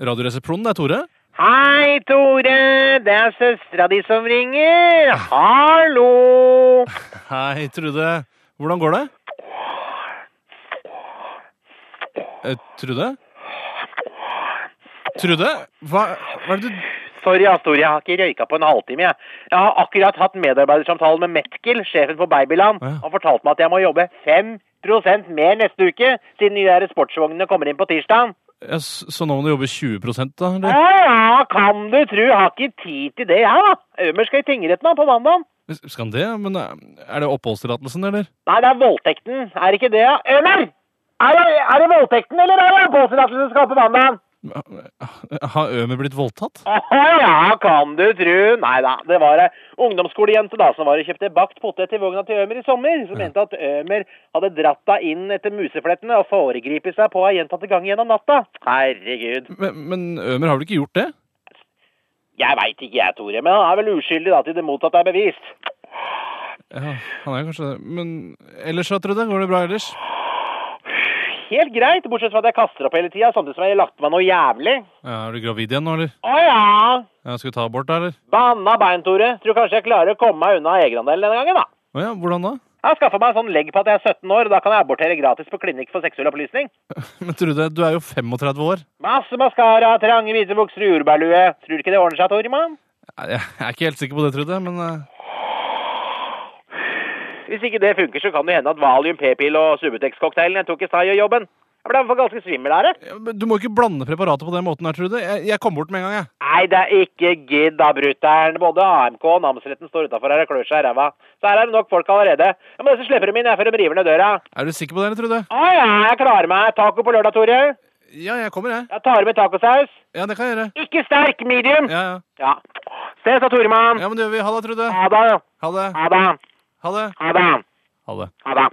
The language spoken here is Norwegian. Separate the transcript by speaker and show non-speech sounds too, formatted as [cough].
Speaker 1: Radioresepsjonen, det er Tore.
Speaker 2: Hei, Tore. Det er søstera di som ringer. Hallo.
Speaker 1: Hei, Trude. Hvordan går det? Eh, Trude? Trude? Hva, hva er det du
Speaker 2: Sorry, ass, Tore. Jeg har ikke røyka på en halvtime. Jeg Jeg har akkurat hatt medarbeidersamtale med Metkel, sjefen for Babyland.
Speaker 1: Ja.
Speaker 2: Han fortalte meg at jeg må jobbe 5 mer neste uke, siden de der sportsvognene kommer inn på tirsdag.
Speaker 1: ja, s- Så nå må du jobbe 20 da? Eller?
Speaker 2: Ja, kan du tru. Har ikke tid til det, jeg, da. Ømer skal i tingretten da, på mandag.
Speaker 1: Skal han det? Men eh, er det oppholdstillatelsen, eller?
Speaker 2: Nei, det er voldtekten. Er det ikke det, ja? Ømer! Er det, er det voldtekten, eller er det påstillatelsen skal på mandag?
Speaker 1: Har Ømer blitt voldtatt?
Speaker 2: Aha, ja, kan du tru. Nei da, det var ei ungdomsskolejente da som var og kjøpte bakt potet til vogna til Ømer i sommer. Som mente at Ømer hadde dratt deg inn etter museflettene og foregripet seg på henne gjentatte ganger gjennom natta. Herregud.
Speaker 1: Men, men Ømer har vel ikke gjort det?
Speaker 2: Jeg veit ikke jeg, Tore, men han er vel uskyldig da til det motsatte er bevist.
Speaker 1: Ja, han er kanskje det. Men ellers, da, Trude? Går det bra ellers?
Speaker 2: Helt greit, bortsett fra at jeg kaster opp hele tida, samtidig som jeg har lagt meg noe jævlig.
Speaker 1: Ja, er du gravid igjen nå, eller?
Speaker 2: Å ja.
Speaker 1: Ja, skal vi ta abort, da, eller?
Speaker 2: Banna bein, Tore. Tror kanskje jeg klarer å komme meg unna egenandelen denne gangen, da.
Speaker 1: Å ja, hvordan da? [laughs]
Speaker 2: Jeg har skaffa meg en sånn legg på at jeg er 17 år, og da kan jeg abortere gratis på klinikk for seksuell opplysning.
Speaker 1: Men Trude, du er jo 35 år.
Speaker 2: Masse maskara, trange hvite bukser og jordbærlue. Tror du ikke det ordner seg, Tormann?
Speaker 1: Nei, Jeg er ikke helt sikker på det, Trude, men eh,
Speaker 2: Hvis ikke det funker, så kan det hende at Valium p-pill og Subutex-cocktailen jeg tok i stad, gjør jobben. Jeg ble i hvert fall ganske svimmel av det.
Speaker 1: ja, men du må ikke blande preparatet på den måten her, Trude. Jeg, jeg kom bort med en gang, jeg.
Speaker 2: Nei, det er ikke gidd da, brutter'n. Både AMK og namsretten står utafor her og klør seg i ræva. Så her er det nok folk allerede. Jeg må nesten slippe dem inn jeg, før de river ned døra.
Speaker 1: Er du sikker på det, eller, Trude?
Speaker 2: Å ja, jeg klarer meg. Taco på lørdag, Tore.
Speaker 1: Ja, jeg kommer, jeg.
Speaker 2: Jeg tar med tacosaus.
Speaker 1: Ja, det kan jeg gjøre.
Speaker 2: Ikke sterk, medium.
Speaker 1: Ja, ja.
Speaker 2: Ja. Ses da, Toremann.
Speaker 1: Ja, men det gjør vi. Ha det, Trude.
Speaker 2: Ha det.
Speaker 1: Ha det.
Speaker 2: Ha det.
Speaker 1: Ha det.
Speaker 2: Ha det.
Speaker 1: Ha det.
Speaker 2: Ha det.